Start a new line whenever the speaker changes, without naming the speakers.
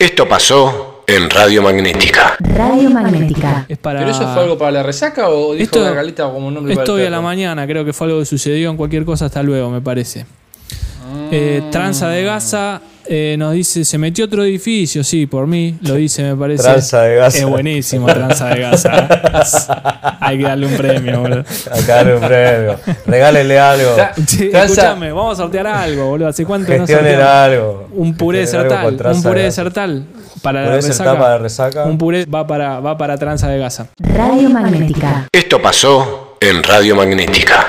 Esto pasó en Radio Magnética.
Radio Magnética.
Es para...
¿Pero eso fue algo para la resaca o dijo
Esto-
la Galita como un nombre para
Esto
el
hoy a la
perro?
mañana, creo que fue algo que sucedió en cualquier cosa, hasta luego, me parece. Eh, tranza de Gaza eh, nos dice, se metió otro edificio, sí, por mí, lo dice, me parece.
Tranza de Gaza.
Es buenísimo, Tranza de Gaza. Hay que darle un premio, boludo.
Acá hay un premio. Regálele algo.
Tra-
Sí,
tranza,
escúchame, vamos a sortear algo, boludo. ¿Hace cuánto no
Gestionen
sorteamos?
algo.
Un puré de
Gestionen algo
sertal,
Este, con tranza
un puré de
Gaza.
sertal para la
Puré de sertal
resaca.
para la resaca.
Un puré va para va para Tranza de Gaza.
Radio Magnética.
Esto pasó en Radio Magnética.